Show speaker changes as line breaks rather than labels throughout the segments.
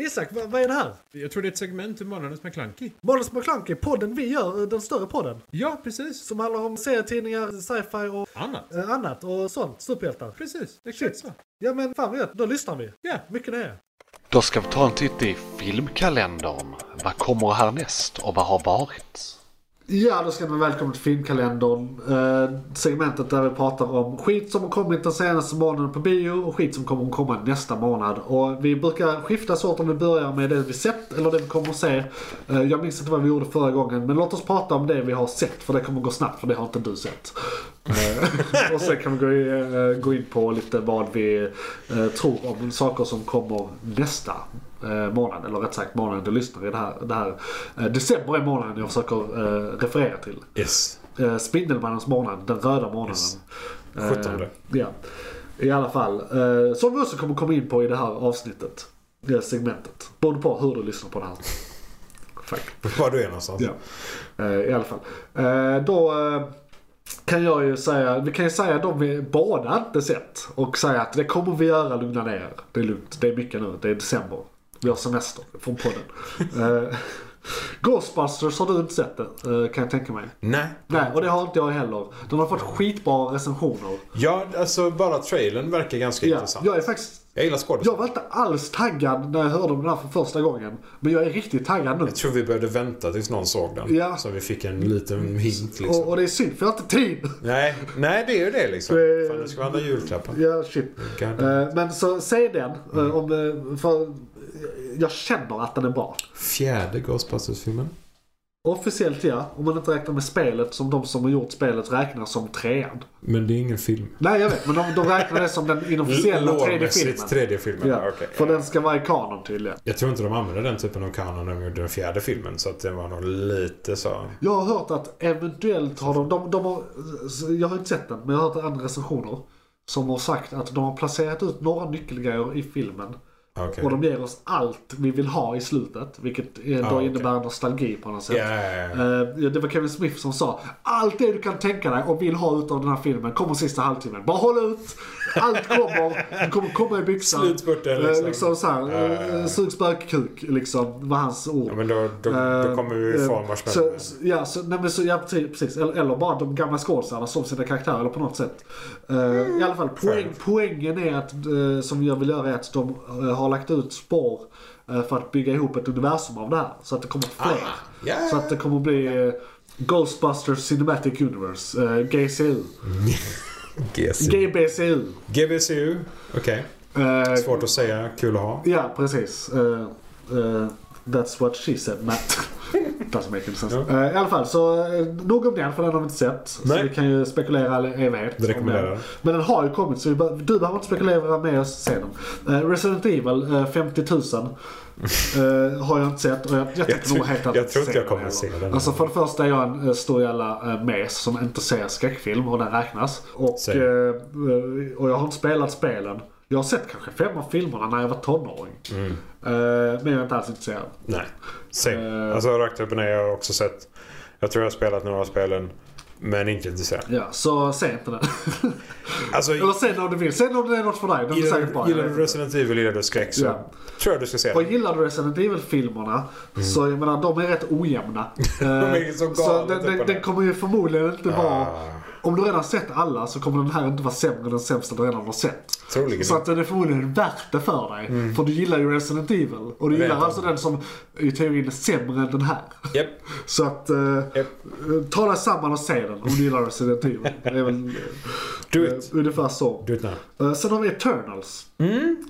Isak, vad, vad är det här?
Jag tror det är ett segment ur Månadens McKlunky.
Månadens McKlunky, podden vi gör, eh, den större podden.
Ja, precis.
Som handlar om serietidningar, sci-fi och
Annat.
eh, annat och sånt. Superhjältar.
Precis. Exakt så.
Ja men fan vad gött, då lyssnar vi.
Ja.
Mycket nöje.
Då ska vi ta en titt i filmkalendern. Vad kommer härnäst och vad har varit?
Ja, då ska man välkomna till filmkalendern. Eh, segmentet där vi pratar om skit som har kommit den senaste månaden på bio och skit som kommer att komma nästa månad. Och vi brukar skifta så att om vi börjar med det vi sett eller det vi kommer att se. Eh, jag minns inte vad vi gjorde förra gången, men låt oss prata om det vi har sett för det kommer gå snabbt för det har inte du sett. Eh, och sen kan vi gå, i, eh, gå in på lite vad vi eh, tror om saker som kommer nästa eh, månad. Eller rätt sagt månaden du lyssnar i det här. Det här. Eh, december är månaden jag försöker eh, referera till.
Yes.
Eh, Spindelmannens månad, den röda månaden.
Yes.
Eh,
Sjuttonde.
ja. I alla fall. Eh, som vi också kommer komma in på i det här avsnittet. Det här segmentet. Beroende på hur du lyssnar på det här. Fuck.
Var du är någonstans.
Ja. Eh, I alla fall. Eh, Då eh, kan jag ju säga, vi kan ju säga att de är båda inte sett. Och säga att det kommer vi göra, lugna ner er. Det är lugnt, det är mycket nu, det är december. Vi har semester från podden. Eh, Ghostbusters har du inte sett det, eh, kan jag tänka mig.
Nej.
Nej, och det har inte jag heller. De har fått skitbara recensioner.
Ja, alltså bara trailern verkar ganska
Ja,
intressant.
jag är faktiskt...
Jag gillar skådespelare.
Jag var inte alls taggad när jag hörde om den här för första gången. Men jag är riktigt taggad nu.
Jag tror vi behövde vänta tills någon såg den.
Ja.
Så vi fick en liten hint liksom.
Och, och det är synd, för jag har inte tid.
Nej, nej, det är ju det liksom.
Det-
Fan, nu ska vi handla julklappar.
Ja, shit.
Kan-
Eh, Men så säg den. eh,
Mm.
Om, eh, för jag känner att den är bra.
Fjärde Ghostbusters-filmen.
Officiellt ja, om man inte räknar med spelet som de som har gjort spelet räknar som trean.
Men det är ingen film.
Nej jag vet, men de, de räknar det som den inofficiella tredje filmen.
Lårmässigt tredje filmen.
Ja,
okej.
För den ska vara i kanon tydligen.
Jag tror inte de använde den typen av kanon när de gjorde den fjärde filmen. Så att det var nog lite så.
Jag har hört att eventuellt har de, de, de har, jag har inte sett den, men jag har hört andra recensioner. Som har sagt att de har placerat ut några nyckelgrejer i filmen.
Okej.
Och de ger oss allt vi vill ha i slutet. Vilket eh, då
Ah, okej.
innebär nostalgi på något sätt.
Ja, ja, ja, ja.
Eh, ja, det var Kevin Smith som sa allt det du kan tänka dig och vill ha utav den här filmen kommer sista halvtimmen. Bara håll ut! Allt kommer. Det kommer komma i byxan.
Slutspurten,
Eh,
liksom.
liksom så här,
Ja, ja, ja.
eh, Sugs bögkuk, liksom. var hans ord.
Ja, men då, då, då kommer vi
Eh,
få
så,
marshmallow.
så, ja, så, nej, men så, ja, precis. precis. Eller, eller bara de gamla skådisarna som sina karaktärer eller på något sätt. Eh, I alla fall, poäng,
Mm. Fair.
poängen är att, eh, som jag vill göra är att de eh, har lagt ut spår eh, för att bygga ihop ett universum av det här. Så att det kommer fler.
ja.
Så att det kommer bli eh, Ghostbusters Cinematic Universe, eh, GCU. GBCU.
GBCU. Okej.
Eh,
Svårt att säga. Kul att ha.
Ja, precis. Eh, eh, that's what she said, Matt. Doesn't make any sense.
Ja.
Eh, I alla fall, så eh, nog om den, för den har vi inte sett. Så
Nej.
vi kan ju spekulera all evighet.
Det rekommenderar
om den.
jag.
Men den har ju kommit, så vi bör, du behöver inte spekulera med oss sen. Eh, Resident Evil, eh, 50 000. eh, har jag inte sett och jag, jag tänker
tror-
nog helt att
jag tror inte
se
jag kommer
heller.
se den.
Alltså för det första är jag en eh, stor jävla eh, mes som inte ser skräckfilm och den räknas. Och,
Säg.
eh, eh, och jag har inte spelat spelen. Jag har sett kanske fem av filmerna när jag var tonåring.
Mm.
Eh, Men jag är inte alls intresserad.
Nej. Same.
Eh.
Alltså rakt upp och ner. Jag har också sett. Jag tror jag har spelat några av spelen. Men inte intresserad.
Ja, så se inte den.
Alltså,
Eller se den om du vill. Se den om det är något för dig. Den är säkert bra.
gillar,
jag
gillar
vet inte.
du Resident Evil, gillar du skräck så
Ja.
tror jag du ska se
Och
den.
gillar du Resident Evil-filmerna så jag menar de är rätt ojämna. de
Mm. är så galet
den,
upp
den,
och
den
ner.
kommer ju förmodligen inte vara...
Ah.
Om du redan sett alla så kommer den här inte vara sämre än den sämsta du redan har sett.
Troligen.
Så att den är förmodligen värt det för dig. För du gillar ju Resident Evil. Och du
Vet
gillar
Mm. jag.
alltså den som i teorin är sämre än den här.
Japp.
Så att eh,
Japp.
ta dig samman och se den om du gillar Resident Evil. Det är väl
Do
eh,
it.
ungefär så.
Do it now.
Eh, Sen har vi Eternals.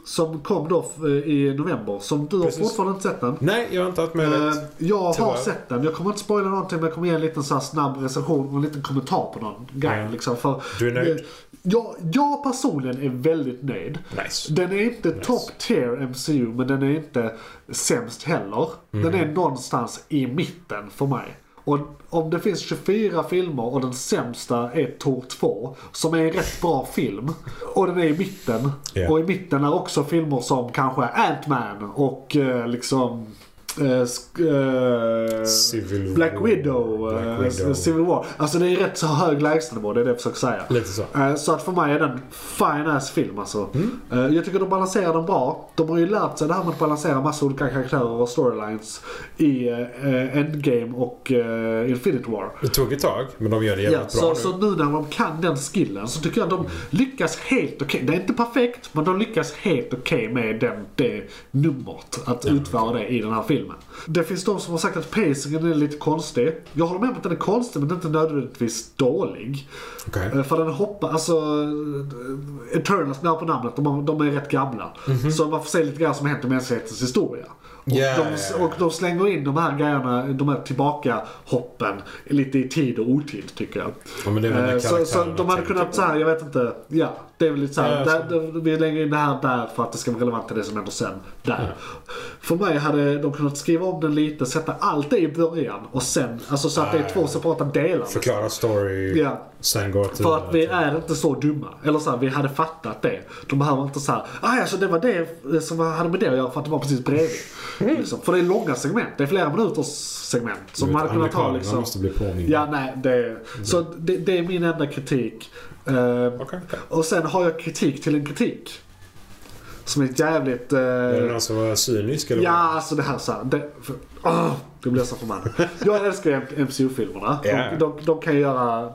Som kom då eh, i november. Som du har
Precis.
fortfarande inte sett den.
Nej, jag har inte haft möjlighet.
Eh, jag har
Tyvärr.
sett den. Jag kommer inte spoila någonting men jag kommer ge en liten så här snabb recension och en liten kommentar på någon grej.
Mm.
Liksom, för,
Du är nöjd?
Eh, jag, jag personligen är väldigt nöjd.
Nice.
Den är inte top tier MCU men den är inte sämst heller. Den är någonstans i mitten för mig. Och om det finns 24 filmer och den sämsta är Tor 2 som är en rätt bra film och den är i mitten.
Ja.
Och i mitten är också filmer som kanske Ant-Man och eh, liksom eh, sk- eh,
Civil
Black
War.
Widow, eh,
Black Widow.
Civil War. Alltså det är rätt så hög lägstanivå, det är det jag försöker säga.
Lite så. Mm.
Eh, Så att för mig är den fine ass film alltså. Eh, Jag tycker de balanserar den bra. De har ju lärt sig det här med att balansera massa olika karaktärer och storylines i eh, Endgame och eh, Infinity War.
Det tog ett tag, men de gör det
Ja,
jävligt bra
så,
nu.
så nu när de kan den skillen så tycker jag att de lyckas helt okej. Det är inte perfekt, men de lyckas helt okej med den, det numret. Att utföra det i den här filmen. Det finns de som har sagt att pacingen är lite konstig. Jag håller med om att den är konstig, men den är inte nödvändigtvis dålig.
Okej.
Eh, För den hoppar, alltså eh, Eternals när på namnet, de, har- de är rätt gamla. Så man får se lite grann som hänt i mänsklighetens historia. Och,
Mhm. Ja,
de,
ja, ja.
och de slänger in de här grejerna, de här tillbaka-hoppen lite i tid och otid tycker jag.
Ja, men det är väl när
Eh, så, så
karaktärerna
de hade
tänker
kunnat
på-
såhär, jag vet inte, ja. Det är väl lite såhär,
Ja,
där, där, vi lägger in det här där för att det ska vara relevant till det som händer sen. Där. För mig hade de kunnat skriva om den lite, sätta allt det i början och sen, alltså så att det är två separata delar.
Förklara story,
Ja.
sen går till...
För att vi är inte så dumma. Eller så här, vi hade fattat det. De behöver inte så här, "Aj, alltså det var det som hade med det att göra för att det var precis bredvid. Liksom. För det är långa segment, det är flera minuters segment.
Mm. Du
Som
vet,
man hade kunnat ta
amerikanerna
liksom.
måste bli Mm. påminna.
Ja, nej, det, så det, det är min enda kritik. Eh,
Okej, okej.
Och sen har jag kritik till en kritik. Som är jävligt...
Är det
Eh,
någon som var cynisk eller?
ja, alltså det här så här, det, för, åh, det blir så förbannad. Jag älskar ju MCU-filmerna.
Ja.
De, de, de kan ju göra...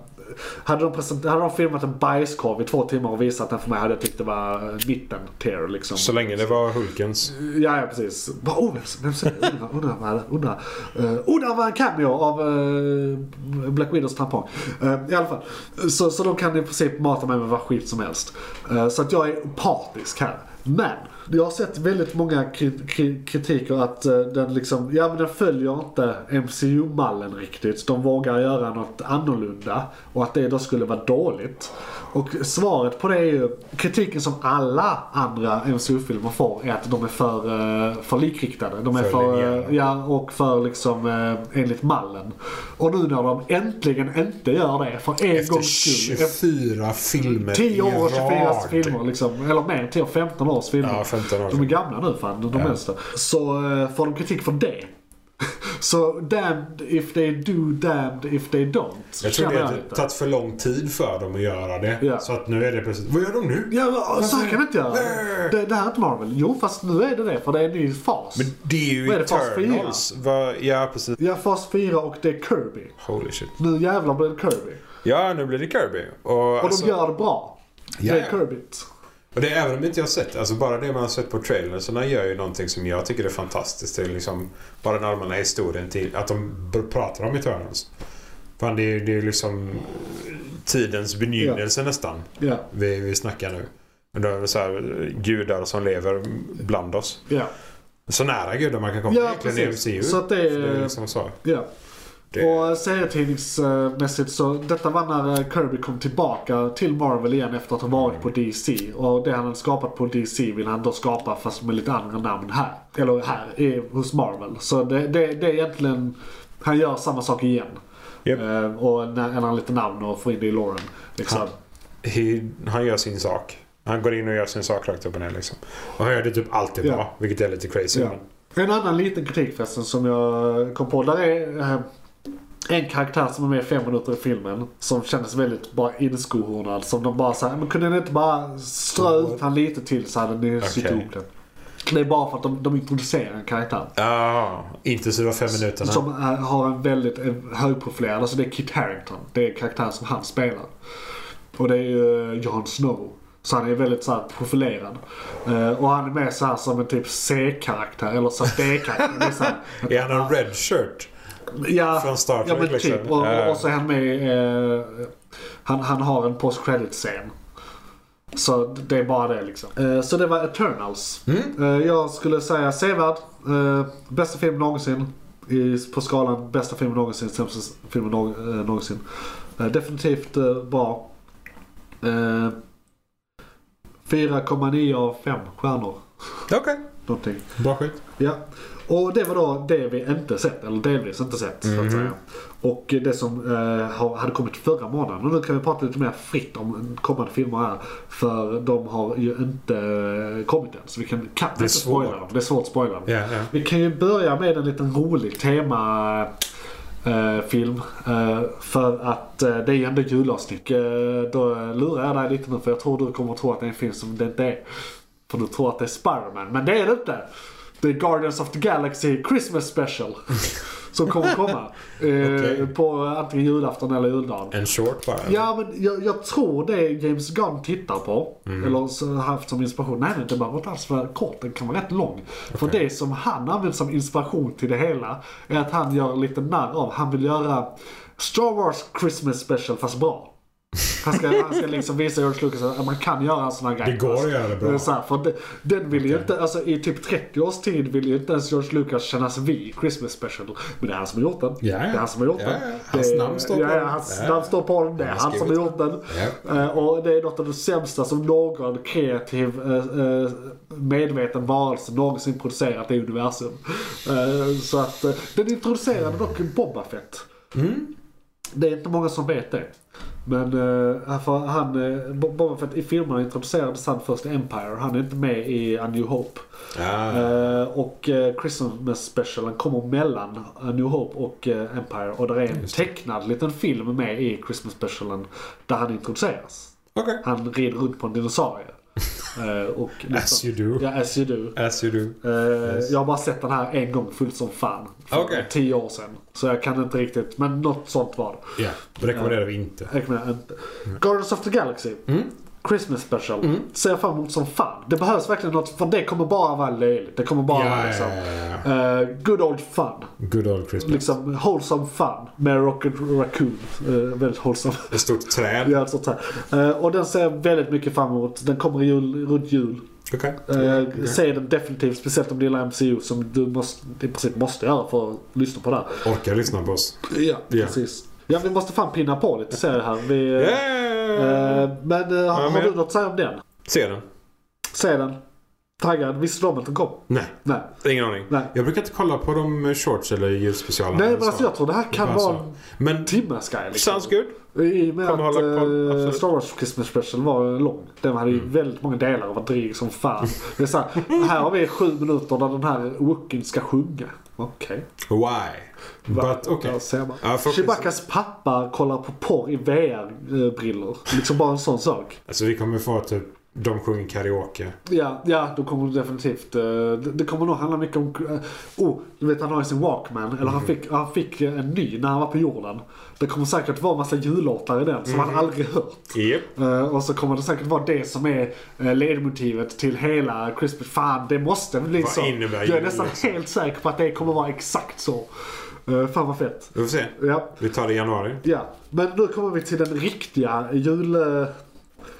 Hade de, present, hade de filmat en bajskorv i två timmar och visat den för mig hade jag tyckt det var eh, mitten tier liksom.
Så länge det var Hulkens.
Ja, ja precis. Bara, oh, vem, vem ser det? Undrar, undrar vad det undrar. Uh, undrar vad en cameo av eh, Black Widows tampong. Eh, I alla fall. Så, så de kan i princip mata mig med vad skit som helst. Eh, så att jag är partisk här. Men jag har sett väldigt många kri- kri- kritiker att eh, den liksom, ja men den följer inte MCU-mallen riktigt. De vågar göra något annorlunda och att det då skulle vara dåligt. Och svaret på det är ju, kritiken som alla andra MCU-filmer får är att de är för, eh, för likriktade. De är
För
för,
linjära.
eh, ja, och för liksom eh, enligt mallen. Och nu när de äntligen inte gör det för en
Efter
gångs skull. efter
24 filmer
10 år och
i
24
rad.
filmer liksom. Eller mer, 10 och 15 års filmer.
Ja, 15 år.
De är gamla nu fan, de
Ja.
äldsta. Så eh, får de kritik för det. Så damned if they do, damned if they don't.
Jag tror
Känner
det har
lite.
tagit för lång tid för dem att göra det.
liksom. Ja.
Så att nu är det plötsligt, vad gör de nu?
Ja, men, så här kan vi inte göra.
Nej.
Det, det här är inte Marvel. Jo, fast nu är det det för det är en ny fas.
Men det är ju
Vad är det, fas fyra?
Eternals. Va, ja, precis.
Ja, fas 4 och det är Kirby.
Holy shit.
Nu jävlar blir det Kirby.
Ja, nu blir det Kirby. Och,
Och
alltså,
de gör det bra. Det
Ja.
är Kirbyt.
och det är även om inte jag har sett, alltså bara det man har sett på trailerserna gör ju någonting som jag tycker är fantastiskt. Det är liksom bara den allmänna historien till att de b- pratar om Eternals. Fan, det är ju det är ju liksom eh, tidens begynnelse nästan.
Ja,
Vi, vi snackar nu. Men då är det så här, eh, gudar som lever bland oss.
ja,
Så nära gudar man kan komma
Ja,
egentligen i
precis.
MCU.
Så att det är-
För det är liksom så.
ja.
Det-
Och serietidningsmässigt så, detta var när eh, Kirby kom tillbaka till Marvel igen efter att ha varit på DC. Och det han hade skapat på DC vill han då skapa fast med lite andra namn här. Eller här, i, hos Marvel. Så det, det, det är egentligen, han gör samma sak igen.
Japp.
Eh, och en- ändrar lite namn och får in det i Lauren. Liksom.
Han, he, han gör sin sak. Han går in och gör sin sak rakt upp och ner liksom. Och han gör det typ alltid
Ja.
bra. Vilket är lite crazy.
Ja. En annan liten kritik förresten som jag kom på. Där är eh, en karaktär som är med i fem minuter i filmen. Som kändes väldigt bara inskohornad. Som de bara såhär, men kunde ni inte bara strö ut han lite till så hade ni sytt
Okej.
ihop det. Det är bara för att de, de introducerar en karaktär.
Men, ah, intensiva fem minuterna.
Som eh, har en väldigt eh, högprofilerad, alltså det är Kit Harington. Det är karaktären som han spelar. Och det är ju eh, Jon Snow. Så han är väldigt så här profilerad. Eh, och han är med så här som en typ C-karaktär eller så här D-karaktär. Det är så här-
Är han en red shirt?
ja,
Från Star Trek,
ja, men
liksom.
typ. Och, och,
Ja.
och så är han med i, eh, han, han har en post credit scen Så det är bara det liksom. Eh, så det var Eternals.
Mm,
Eh, jag skulle säga sevärd. Eh, bästa film någonsin. I, på skalan bästa film någonsin, sämsta film nå, eh, någonsin. Eh, definitivt eh, bra. Eh, 4,9 av 5 stjärnor.
Okej,
Någonting.
bra skit.
Ja. Och det var då det vi inte sett, eller delvis inte sett
Mhm.
så att säga. Och det som eh, har- hade kommit förra månaden. Och nu kan vi prata lite mer fritt om kommande filmer här. För de har ju inte eh, kommit än. Så vi kan, kan
Det är
inte spoila
svårt.
dem. Det är svårt att spoila dem.
Ja, ja.
Vi kan ju börja med en liten rolig tema eh, film. Eh, för att eh, det är ju ändå julavsnitt. Eh, då lurar jag dig lite nu för jag tror du kommer att tro att det är en film som det inte är. För du tror att det är Spiderman, men det är det inte. Det är Guardians of the Galaxy Christmas Special. som kommer att komma. Eh,
Okej.
På antingen julafton eller juldagen.
En short bara.
Ja, men jag, jag tror det James Gunn tittar på,
Mm.
eller så har haft som inspiration. Nej, nej, det behöver inte alls vara kort, den kan vara rätt lång. För det som han använder som inspiration till det hela är att han gör lite narr av, han vill göra Star Wars Christmas Special fast bra. Han ska, han ska liksom visa George Lucas att man kan göra en sån här grej.
Det går att göra det bra.
Så här, för det, den vill ju inte, alltså i typ 30 års tid vill ju inte ens George Lucas kännas vid Christmas Special. Men det är han som har gjort den.
Ja, ja.
Det är han som har gjort
Ja,
den.
ja. Hans
Det-
namn står på
ja, ja,
den.
hans
Ja.
namn står på den. Det är
Han har
han som har
skrivit
gjort den.
Ja.
Eh, Och det är något av det sämsta som någon kreativ eh, eh, medveten varelse någonsin producerat i universum. Eh, Så att eh, den introducerade dock Boba Fett. Det är inte många som vet det. Men eh, för han, eh, Bo- Boba Fett i filmerna introducerades han först i Empire. Han är inte med i A New Hope.
Ja.
Eh, och eh, Christmas specialen kommer mellan A New Hope och eh, Empire. Och där är en tecknad liten film med i Christmas specialen där han introduceras.
Okej.
Han rider runt på en dinosaurie. Eh, och
As you do.
Ja, as you do.
As you do.
Eh, Jag har bara sett den här en gång fullt som fan. För
Okej.
tio år sedan. Så jag kan inte riktigt, men något sånt var det.
Ja, det rekommenderar vi inte.
Jag kan inte. Guardians of the Galaxy.
Mm.
Christmas special. Ser jag fram emot som fan. Det behövs verkligen något, för det kommer bara vara löjligt. Det kommer bara
Ja,
vara
ja,
liksom,
ja,
eh, good old fun.
Good old Christmas.
Liksom wholesome fun. Med Rocket Raccoon. Eh, väldigt wholesome.
Ett stort träd.
Ja, sånt här. Eh, och den ser jag väldigt mycket fram emot. Den kommer i jul, runt jul.
Okej.
Eh, Se den definitivt, speciellt om du gillar MCU som du måste, i princip måste göra för att lyssna på det här.
Orkar lyssna på oss.
Ja,
Ja.
precis. Ja, vi måste fan pinna på lite serier här. Vi, eh,
Yeah.
eh, men eh, har,
men-
har du något att säga om den?
Ser den?
Se den. Taggad. Visste du om att den kom?
Nej.
Nej.
Ingen aning.
Nej.
Jag brukar inte kolla på de shorts eller ljusspecialerna.
Nej,
eller
men
så.
alltså jag tror det här kan
Bara så.
vara en
Men
timmes grej. Liksom.
sounds good.
I och med
Kommer
att
hålla koll,
eh,
absolut.
Star Wars Christmas Special var lång. Den hade ju väldigt många delar och var dryg som fan. Det är så här, här har vi sju minuter där den här Wookien ska sjunga. Okej.
Why? But okej.
Där ser man.
Ja, förhoppningsvis-
Chewbaccas pappa kollar på porr i VR-brillor. Liksom bara en sån sak.
Alltså vi kommer få typ, de sjunger karaoke.
Ja, ja då kommer det definitivt. eh, Det, det kommer nog handla mycket om... eh, Oh, du vet han har ju sin Walkman. Eller
Mm.
han fick, han fick eh, en ny när han var på jorden. Det kommer säkert vara en massa jullåtar i den som
Mm.
han aldrig hört.
Yep.
Eh, och så kommer det säkert vara det som är eh, ledmotivet till hela Christmas. Fan, det måste bli
Vad
så.
innebär
Jag är
jul,
nästan
liksom?
helt säker på att det kommer vara exakt så. Uh, fan vad fett.
Vi får se.
Ja,
Vi tar det i januari.
ja. Men nu kommer vi till den riktiga jul... eh,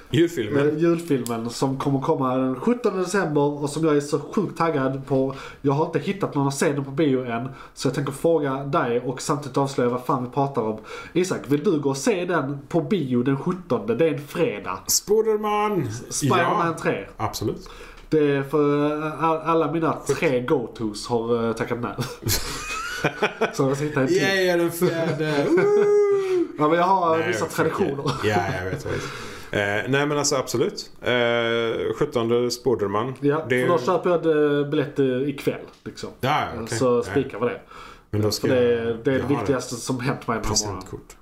Julfilmen.
Eh, julfilmen som kommer komma den 17 december och som jag är så sjukt taggad på. Jag har inte hittat någon att se den på bio än. Så jag tänker fråga dig och samtidigt avslöja vad fan vi pratar om. Isak, vill du gå och se den på bio den 17? Det är en fredag.
Spoderman!
Spiderman
Ja,
3.
absolut.
Det är för eh, all- alla mina tre go-tos har eh, tackat nej. så jag sitter i yeah.
Yeah, den fjärde!
ja, men Jag har
Nej,
vissa
jag försöker.
traditioner.
Ja, jag vet. Jag vet. Eh, nej men alltså absolut. Eh, 17 Spoderman.
Ja,
Det är-
för då köper jag eh, biljett eh, ikväll. Liksom.
Ja, ja, okej.
Så
Ja.
spikar vi det.
Men då ska
För det,
jag-
är- det är det
jag har
viktigaste som hänt mig den här månaden.
Presentkort.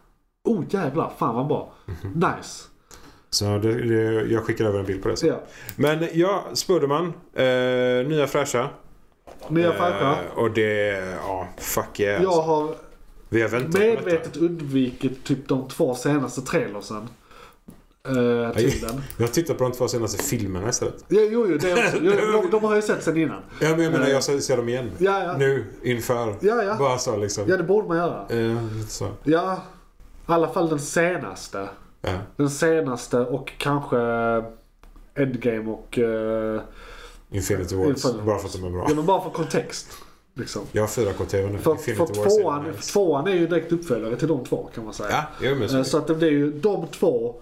Oh jävlar, fan vad bra.
Mhm.
Nice.
Så det, det, jag skickar över en bild på det. sen.
Ja.
Men ja, Spoderman. Eh, nya fräscha.
Nya fallskärmar.
Eh, och det, ja, fuck yeah.
Jag har
Vi har väntat på detta.
medvetet undvikit typ de två senaste trailersen. Uh, till den.
Jag har tittat på de två senaste filmerna istället.
Jo, jo, jo, det är också, jo de, de har jag ju sett sen innan.
Ja, men jag menar, jag ser, ser dem igen.
Eh. Ja, ja.
Nu, inför.
Ja, ja.
Bara så liksom.
Ja, det borde man göra.
Eh, lite så.
Ja, i alla fall den senaste.
Ja.
Den senaste och kanske eh, Endgame och... eh,
Infinity Wars.
Infinity
Bara för att de är bra.
ja, men bara för kontext. Liksom.
Jag har 4K-TV nu.
För,
Infinity
för
Wars är
tvåan,
nice.
tvåan är ju direkt uppföljare till de två kan man säga.
Ja, jag är Mm. med.
Eh, Så att det blir ju de två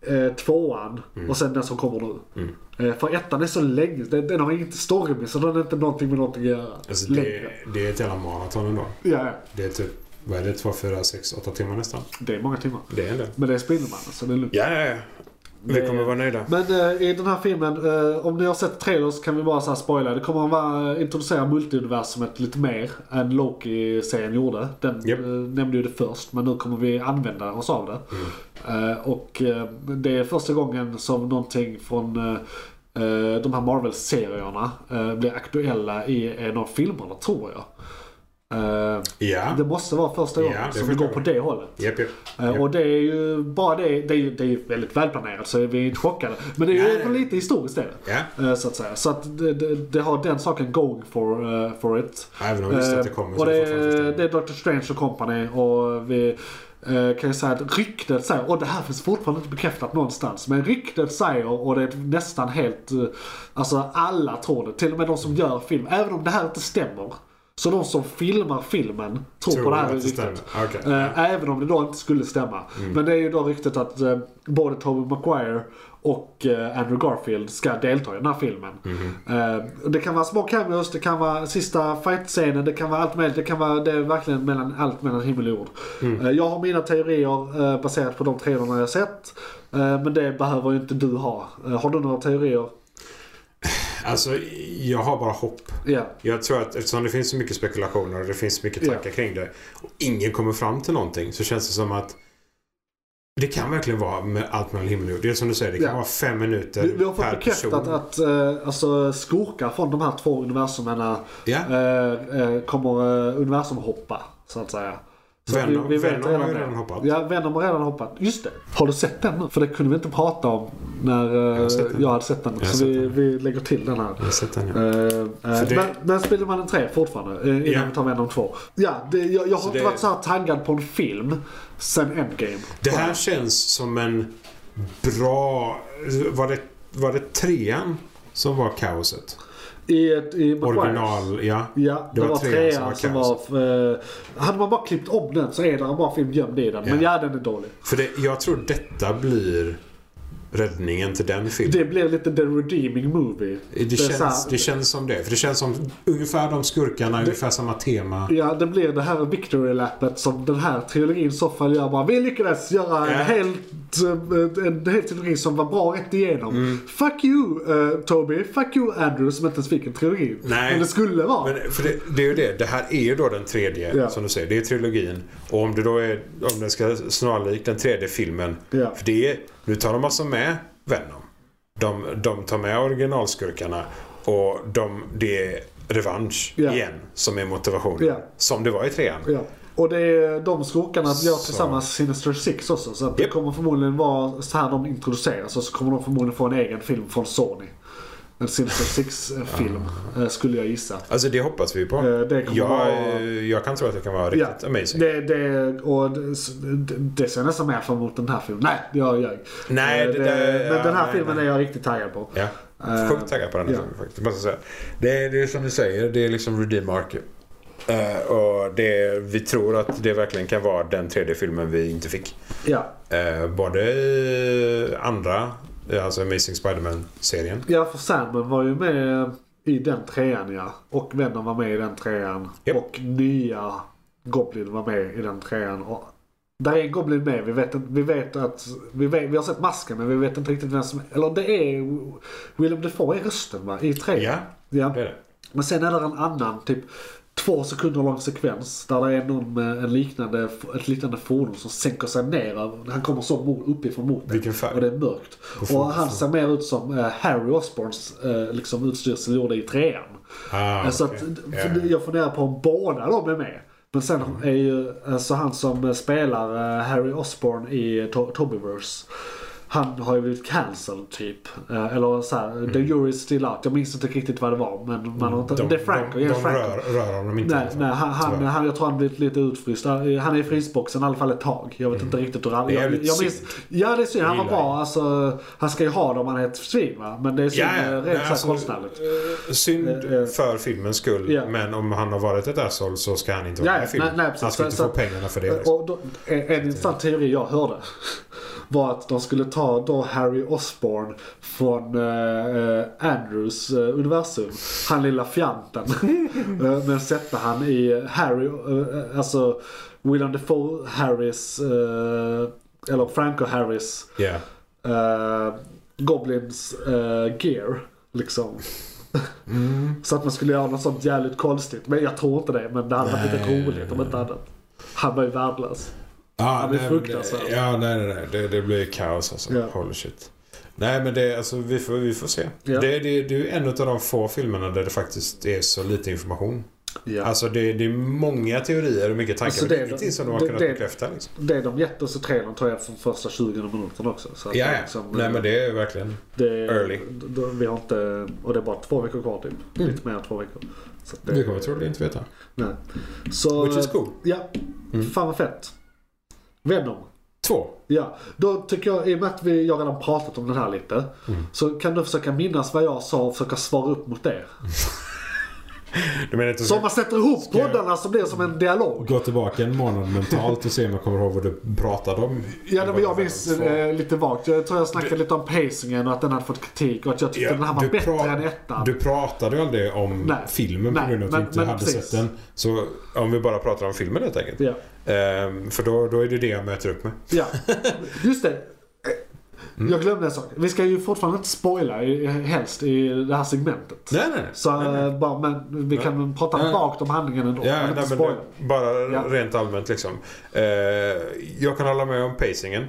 eh, tvåan
Mm.
och sen den som kommer nu. Eh, för ettan är så länge, den, den har inget storymässigt, den har inte någonting med någonting att göra.
Alltså det, det är ett jävla maraton ändå.
Ja, ja.
Det är typ, vad är det, 2, 4, 6, 8 timmar nästan.
det är många timmar.
Det är en del.
Men det är Spindelmannen så det är lugnt.
Ja, ja, ja. Vi kommer vara nöjda.
Men eh, i den här filmen, eh, om ni har sett trailers kan vi bara så här spoila. Det kommer att vara, eh, introducera multiuniversumet lite mer än Loki-serien gjorde. Den
Japp.
eh, nämnde ju det först, men nu kommer vi använda oss av det.
Mm.
Eh, och eh, det är första gången som någonting från eh, eh, de här Marvel-serierna eh, blir aktuella i en av filmerna, tror jag. Eh,
Ja.
det måste vara första gången
Ah. Ja, det
som det
förstår
går på
jag.
det hållet.
Japp, japp.
Eh, Och det är ju bara det, det är ju, det är ju väldigt välplanerat så vi är inte chockade. Men det är ju
Nej.
ändå lite historiskt det.
Ja.
Eh, Så att säga. Så att det, det, det har den saken going for, eh, for it.
Även om vi visste att det
Eh,
kommer
Och
så
det,
är det fortfarande
är-
inte-
det är Dr. Strange och Company och vi eh, kan ju säga att ryktet säger, och det här finns fortfarande inte bekräftat någonstans, men ryktet säger och det är nästan helt, eh, alltså alla tror det, till och med de som gör film, även om det här inte stämmer. Så de som filmar filmen tror,
Tror
på det här
att det
ryktet.
stämmer. Okej.
Eh, Även om det då inte skulle stämma.
Mm.
Men det är ju då ryktet att eh, både Tobey Maguire och eh, Andrew Garfield ska delta i den här filmen.
Mhm.
Eh, och det kan vara små cameos, det kan vara sista fight-scenen, det kan vara allt möjligt. Det kan vara det är verkligen mellan, allt mellan himmel och jord.
Mm.
Eh, jag har mina teorier eh, baserat på de trailerna jag har sett. Eh, men det behöver ju inte du ha. Eh, har du några teorier?
Alltså, jag har bara hopp.
Ja.
Jag tror att eftersom det finns så mycket spekulationer och det finns så mycket tankar
Ja.
kring det och ingen kommer fram till någonting så känns det som att det kan verkligen vara med allt mellan himmel och jord. Det är som du säger, det kan
Ja.
vara fem minuter
Vi, vi har fått
per
bekräftat
person.
att eh, alltså, skurkar från de här två universumerna
Ja.
eh, eh, kommer eh, universum hoppa, så att säga. Så att
Venom-
vet
Venom har ju
det.
redan hoppat.
Ja, Venom har redan hoppat. Just det. Har du sett den nu? För det kunde vi inte prata om när eh,
har sett den.
jag, hade sett den.
Jag har
så
sett
vi,
den.
vi lägger till den här.
Jag har sett den, ja.
Eh, eh,
det-
Men, men Spindelmannen 3 fortfarande, eh, innan
Ja.
vi tar Venom 2. Ja, det, jag, jag har
Så
inte
det-
varit så här taggad på en film sen Endgame.
Det här känns som en bra... Var det, var det trean som var kaoset?
I, ett- i Maguires.
Original, ja.
Ja, det, var, trean som var...
kaoset.
eh, hade man bara klippt om den så är det en bra film gömd i den. Men
Ja.
ja, den är dålig.
För det, jag tror detta blir räddningen till den filmen.
Det blev lite the redeeming movie.
Det,
är så
känns,
här-
det känns som det. För det känns som ungefär de skurkarna, ungefär samma tema.
Ja, det blev det här victory lappet som den här trilogin i så fall gör bara. Vi lyckades göra en,
Ja.
helt, eh, en hel trilogi som var bra rätt igenom.
Mm.
Fuck you eh, Toby, fuck you Andrew som inte ens fick en trilogi.
Nej.
Men det skulle vara.
Men för det, det är ju det. Det här är ju då den tredje,
Ja.
som du säger. Det är trilogin. Och om det då är, om den ska snarlik den tredje filmen.
Ja.
För det är, nu tar de alltså med Venom. De, de tar med originalskurkarna. Och de, det är revansch
Ja.
igen som är motivationen.
Ja.
Som det var i trean.
Ja. Och det är de skurkarna gör
Så.
tillsammans Sinister Six också. Så att det
Japp.
kommer förmodligen vara så här de introduceras och så kommer de förmodligen få en egen film från Sony. En Sinister Six-film
Ah.
eh, skulle jag gissa.
Alltså det hoppas vi på.
Eh, det kommer
jag,
vara-
jag kan tro att det kan vara riktigt amazing.
Det, det, och det, det ser jag nästan mer fram emot den här filmen. Nej, jag ljög.
Nej,
Eh,
det där-
Men den här
nej,
filmen
nej.
är jag riktigt taggad på.
Ja.
Eh,
Sjukt taggad på den här
ja.
filmen faktiskt. Måste jag säga. Det, är, det är som du säger, det är liksom redeem mark. Eh, och det, vi tror att det verkligen kan vara den tredje filmen vi inte fick.
Ja.
Eh, både i andra, eh, alltså Amazing Spider-Man-serien.
ja, för Sandman var ju med i den trean ja. Och Venom var med i den trean.
Japp.
Och nya Goblin var med i den trean. Och där är en Goblin med. Vi vet, inte- vi vet att... Vi, vet, vi har sett masken men vi vet inte riktigt vem som... Eller det är... Willem Dafoe är rösten va? I trean.
Ja,
ja.
det är det.
Men sen är det en annan, typ två sekunder lång sekvens där det är någon med en liknande, ett liknande fordon som sänker sig ner. över- Han kommer så mo- uppifrån mot dig.
Vilken färg.
Och det är mörkt. Och han ser mer ut som eh, Harry Osborns eh, liksom utstyrsel gjorde i trean.
Ah,
Eh, så att,
okej.
för
Ja. Mm.
Jag funderar på om båda de är med. Men sen är ju alltså han som eh, spelar eh, Harry Osborn i to- Tobyverse. Han har ju blivit cancelled typ. Eh, Eller så här, the jury is still out. Jag minns inte riktigt vad det var. Men man har inte, det är Franco.
Mm. de, de,
James
de
Franco.
rör, rör honom inte.
Nej,
liksom.
nej han, han,
Tyvärr.
han, jag tror han blivit lite utfryst. Han han är i frysboxen i alla fall ett tag. Jag vet inte riktigt hur han...
Mm. Det är
Jag,
jävligt
jag minns,
synd.
ja det är synd. Han var
Gillar
bra. Alltså, han ska ju ha det om han är ett svin va. Men det är synd
Ja, ja.
eh,
Nej,
rent alltså,
alltså,
konstnärligt.
eh, Synd
Eh, eh.
för filmens skull,
Ja.
men om han har varit ett asshole så ska han inte
Ja,
vara med i
nej,
filmen.
nej, precis.
han ska
Så-
inte
så
få
att-
pengarna för det. Liksom.
Och då, en, en intressant teori jag hörde var att de skulle ta då Harry Osborn från eh, eh, Andrews eh, universum. Han lilla fjanten. Eh, Men sätta han i Harry, eh, alltså William Defoe Harrys, eh, eller Franco Harrys
Ja.
eh, Goblins eh, gear. Liksom. Så att man skulle göra något sånt jävligt konstigt. Men jag tror inte det. Men det hade varit lite
Nej.
roligt om inte annat. Han var ju värdelös.
Ja,
blir
nej,
fruktansvärt.
men det- Ja, nej, nej, nej. Det, det blir kaos alltså.
Ja.
Holy shit. Nej, men det, alltså, vi, får, vi får se.
Ja.
Det, det, det är ju en av de få filmerna där det faktiskt är så lite information.
Ja.
Alltså det, det är många teorier och mycket tankar.
Alltså,
men det,
det-
är ingenting som de har
det-
kunnat
det-
bekräfta. Liksom.
Det de gett oss i trailern tror jag från första 20 minuterna också. Så att
Ja,
det
ja.
är liksom,
nej, men det är verkligen...
det,
early. Mm.
d- Vi har inte, och det är bara två veckor kvar typ. Lite mer än två veckor. Så att det, eh,
Vi kommer troligen inte veta.
nej. Så,
Which is cool. Mm.
Ja, fan vad fett. Venom.
Två.
Ja, då tycker jag, i och med att vi, jag redan pratat om den här lite,
Mm.
så kan du försöka minnas vad jag sa och försöka svara upp mot det.
Du menar inte
Så
att
om man sätter ihop poddarna så blir det som en dialog.
gå tillbaka en månad mentalt och se om jag kommer ihåg vad du pratade om?
Ja, det var jag minns
Två.
eh, lite vagt. Jag tror jag snackade lite om pacingen och att den hade fått kritik och att jag tyckte
Ja,
den här var
du
bättre
pra-
än ettan.
Du pratade ju aldrig om
Nej.
filmen på
Nej,
grund av att
men-
du inte
men
hade
precis.
sett den. Så om vi bara pratar om filmen helt enkelt.
Ja.
Ehm, för då, då är det det jag möter upp med.
Ja, just det.
Mm.
Jag glömde en sak. Vi ska ju fortfarande inte spoila i- helst i det här segmentet.
Nej, nej, nej.
Så eh, bara, men vi kan prata
Nej.
vagt om handlingen ändå.
Ja,
men
nej,
inte
men
spoila.
det- bara
Ja.
rent allmänt liksom. Eh, jag kan hålla med om pacingen.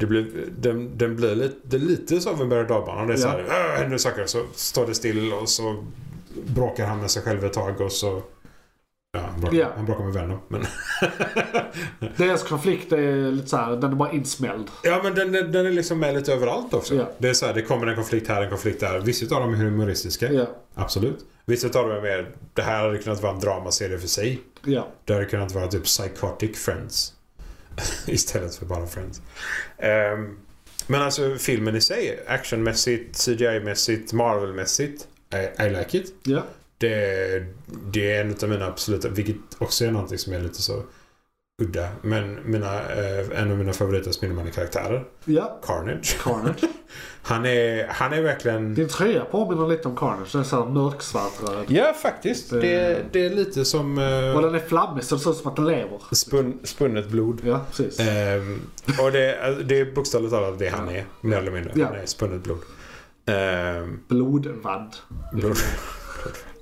Det blir, den, den blir lite, det är lite som en berg och dalbana. Det är så
Ja.
här, "Åh, händer saker. Så står det still och så bråkar han med sig själv ett tag och så... Ja, han bråkar,
Ja.
han bråkar med Venom. Men,
Deras konflikt är lite såhär, den är bara insmälld.
ja, men den, den, den är liksom med lite överallt också.
Ja.
Det är så här, det kommer en konflikt här, en konflikt där. Vissa av dem är humoristiska.
Ja,
Absolut. Vissa av dem är mer, det här hade kunnat vara en dramaserie för sig.
ja.
Det hade kunnat vara typ Psychotic Friends. Istället för bara Friends. Ehm, men alltså filmen i sig, actionmässigt, CGI-mässigt, Marvel-mässigt. I, I like it.
ja.
Det, det är en av mina absoluta, vilket också är någonting som är lite så udda. Men mina, eh, en av mina favoriter Spindelmannen-karaktärer,
ja.
Carnage.
Carnage.
Han är, han är verkligen...
Din tröja påminner lite om Carnage. Den är såhär mörksvart röd.
Ja, faktiskt. Det, det är lite som eh,
Och den är flammig så det ser ut som att den lever.
spun, spunnet blod.
Ja, precis.
Ehm, och det, det är bokstavligt talat det han är, mer eller mindre.
Ja.
Han är spunnet blod. Ehm,
Blodvadd. Mm.
blod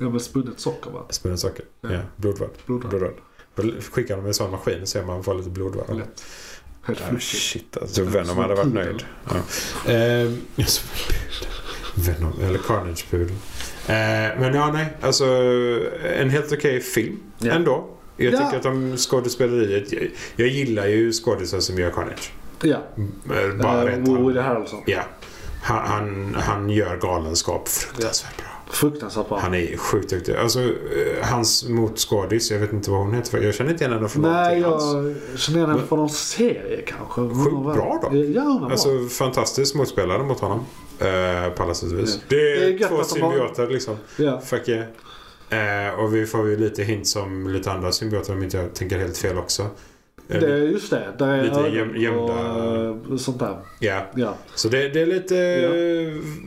Ja, men spunnet socker va?
spunnet socker. Ja, blodvärd.
Blodvärd.
Blodvärd. Skickar de en sån maskin så är man får lite blodvärd.
Lätt. Helt
Ah,
flashigt.
shit alltså. Venom hade varit
pudel.
nöjd. Ja. Ehm, ja, som en pudel. Venom, eller Carnage-pudel. Ehm, men ja, nej. Alltså, en helt okej film
Ja.
ändå. Jag
Ja.
tycker att de skådespeleriet... Jag, jag gillar ju skådisar som gör Carnage.
Ja.
Ehm, Bara
Eh,
rent
Woody Harrelson.
Ja. Han, han, han gör galenskap fruktansvärt bra.
Fruktansvärt bra.
Han är sjukt duktig. Alltså, eh, hans motskådis, jag vet inte vad hon heter. för Jag känner inte igen henne från
Nej,
någonting
jag
alls.
känner igen henne
Men-
från någon serie kanske. Hon
Sjukt
var-
bra då.
Ja, hon var bra.
Alltså, fantastisk motspelare mot honom. Eh, på alla sätt och vis.
Ja.
Det
Mm. Det är
är,
gött
två
att de har-
symbioter liksom.
Ja.
Fuck yeah. Eh, och vi får ju lite hint som lite andra symbioter om inte jag tänker helt fel också. Eh,
Det är just det. Där är
Lite
ögon
göm- gömda-
och, eh, sånt där.
Ja,
Ja.
så det, det är lite...
Ja.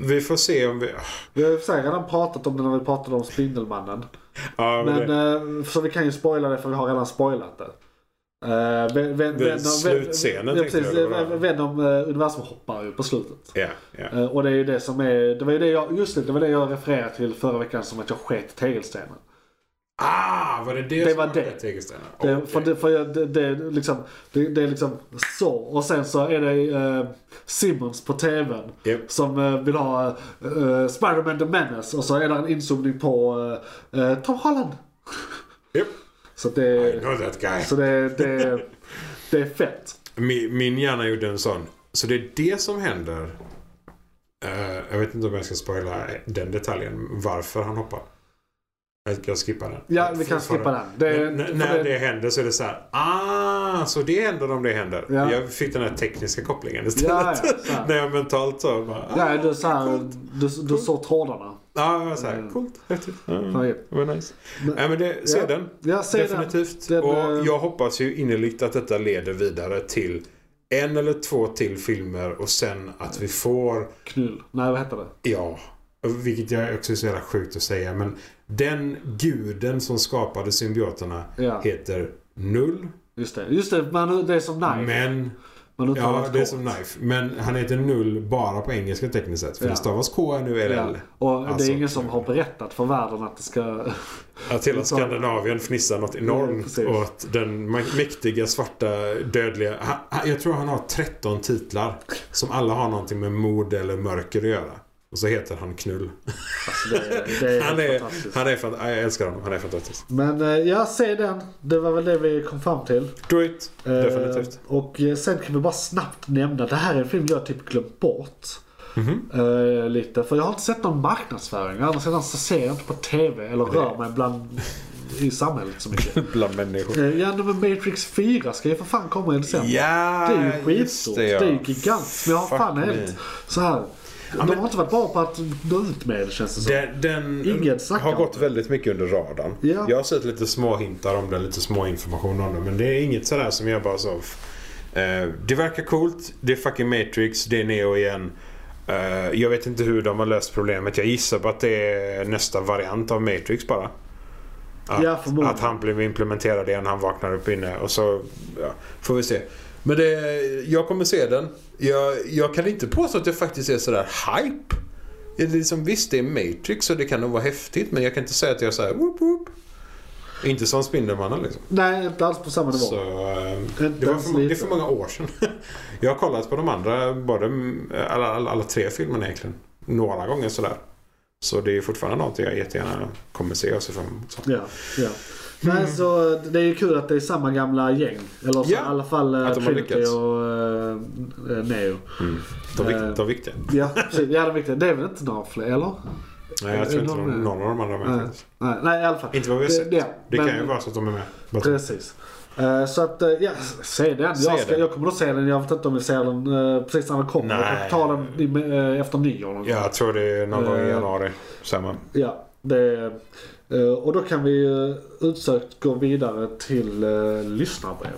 Vi får se om vi...
Vi har ju för sig redan pratat om det när vi pratade om Spindelmannen.
Ja,
Men,
det,
eh, så vi kan ju spoila det för vi har redan spoilat det. Uh, vem, vem,
Det är slutscenen,
ja,
tänkte
precis,
jag, eller vad?
Venom eh, universum hoppar ju på slutet.
ja, ja.
Eh, och det är ju det som är, det var ju det jag, just det, det var det jag refererade till förra veckan som att jag sket i tegelstenen.
Ah, var det det,
Det
som
var det.
med Tegelstenen?
Det,
Okej.
för det, för jag, det, det, är liksom, det, det är liksom så. Och sen så är det eh, Simmons på TVn
Japp.
som eh, vill ha eh, eh, Spider-Man The Menace och så är det en inzoomning på eh, eh, Tom Holland.
Japp.
Så det,
I know that guy.
så det, det, det är fett.
Min, min hjärna gjorde en sån. Så det är det som händer. Eh, jag vet inte om jag ska spoila den detaljen. Varför han hoppar. Jag, jag skippar den.
Ja, vi kan skippa den. Det,
Men n- när
för
det... händer så är det så här. Ah, så det händer om det händer.
Ja.
Jag fick den här tekniska kopplingen
ja,
istället.
ja, så här.
när jag mentalt så bara. Ah,
ja, du, så här, du, du såg trådarna.
ah, det var så här.
Mm.
Coolt. Häftigt. Mm.
Ja,
Det var nice.
Men-
Nej, men det, se
Ja.
den.
Jag ser den.
Definitivt.
Den,
och
eh,
jag hoppas ju innerligt att detta leder vidare till en eller två till filmer och sen att vi får
Knull. Nej, vad heter det?
Ja, vilket jag också är så jävla sjukt att säga. Men den guden som skapade symbioterna
Ja.
heter Null.
Just det. Just det, man, det är som Knife.
Men,
man uttalar
ja
ett
det är
K.
som Knife. Men han heter Null bara på engelska tekniskt sett. För
Ja.
det stavas K-N-U-L-L.
Ja. Och
Alltså,
det är ingen som har berättat för världen att det ska...
Att hela Skandinavien fnissar något
Ja,
enormt
precis.
åt den mä- mäktiga svarta dödliga. Han, han- jag tror han har 13 titlar. Som alla har någonting med mord eller mörker att göra. Och så heter han Knull.
Alltså, det, det är
Han är,
fantastiskt.
han är fan, jag älskar honom. Han är fantastisk.
Men eh, ja, se den. Det var väl det vi kom fram till.
Do it.
Eh,
Definitivt.
Och eh, sen kan vi bara snabbt nämna, det här är en film jag typ glömt bort.
Mhm.
Eh, lite, för jag har inte sett någon marknadsföring. Å andra sidan så alltså ser jag inte på TV eller rör mig bland i samhället så mycket.
Bland människor.
Eh, ja men Matrix 4 ska ju för fan komma i december.
Ja,
Det är ju
just
skitstort.
det,
Det,
ja.
är ju gigantiskt. Men jag har
Fuck
fan
me.
helt så här. de har inte varit bra på att nå ut med det känns det som.
Den, den
Ingen snackar
har
om
gått
det.
väldigt mycket under radarn.
Ja.
Jag har sett lite små hintar om den, lite små information om den. Men det är inget sådär som jag bara så... eh, det verkar coolt. Det är fucking Matrix. Det är Neo igen. Eh, jag vet inte hur de har löst problemet. Jag gissar på att det är nästa variant av Matrix bara. Att,
Ja, förmodligen.
att han blev implementerad igen. Han vaknar upp inne och så ja, får vi se. Men det, jag kommer se den. Jag, jag kan inte påstå att jag faktiskt är sådär hype. Det är liksom, visst, det är Matrix och det kan nog vara häftigt men jag kan inte säga att jag är såhär whoop whoop. Inte som Spindelmannen liksom.
Nej, inte alls på samma nivå.
Så, eh,
Inte
det, var
ens
för, det är
lite.
för många år sedan. jag har kollat på de andra, både, eh, alla, alla, alla tre filmerna egentligen. Några gånger sådär. Så det är fortfarande någonting jag jättegärna kommer se och se fram emot. Så.
Ja, ja. Nej, så det är ju kul att det är samma gamla gäng. Eller så,
Mm. Ja,
i alla fall eh,
att de har
Trinity
lyckats.
och eh, eh, Neo. Eh.
De, vik- de viktiga.
Ja, precis. Ja, det är viktigt. Det är väl inte några fler, eller?
Nej, jag tror inte någon, någon av de andra är med.
Nej, nej, nej, i alla fall.
Inte vad vi har
Det-
sett.
ja,
Det
men-
kan ju vara så att de är med. Bara-
Precis. Eh, Så att, eh, ja, se den.
Se
Jag, ska,
den.
jag kommer att se den. Jag vet inte om vi ser den eh, precis när den kommer.
Nej.
Jag kan ta den i, eh, efter nyår någon gång.
Jag tror det är någon gång
Eh.
i januari. Samma.
Ja, det, eh, och då kan vi ju utsökt gå vidare till eh, lyssnarbrev.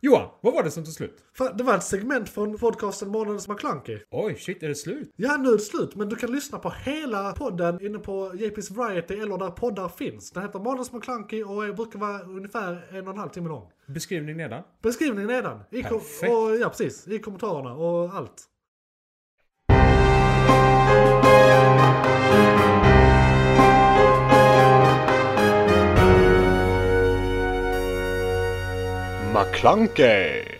Johan, vad var det som tog slut?
Fan, Det var ett segment från podcasten Månadens McKlunky.
Oj, shit, är det slut?
Ja, nu är det slut, men du kan lyssna på hela podden inne på JP's Variety eller där poddar finns. Den heter Månadens McKlunky och brukar vara ungefär en och en halv timme lång.
Beskrivning nedan.
Beskrivningen nedan. I kom-
Perfekt.
och, ja, precis. I kommentarerna och allt.
McClunkey!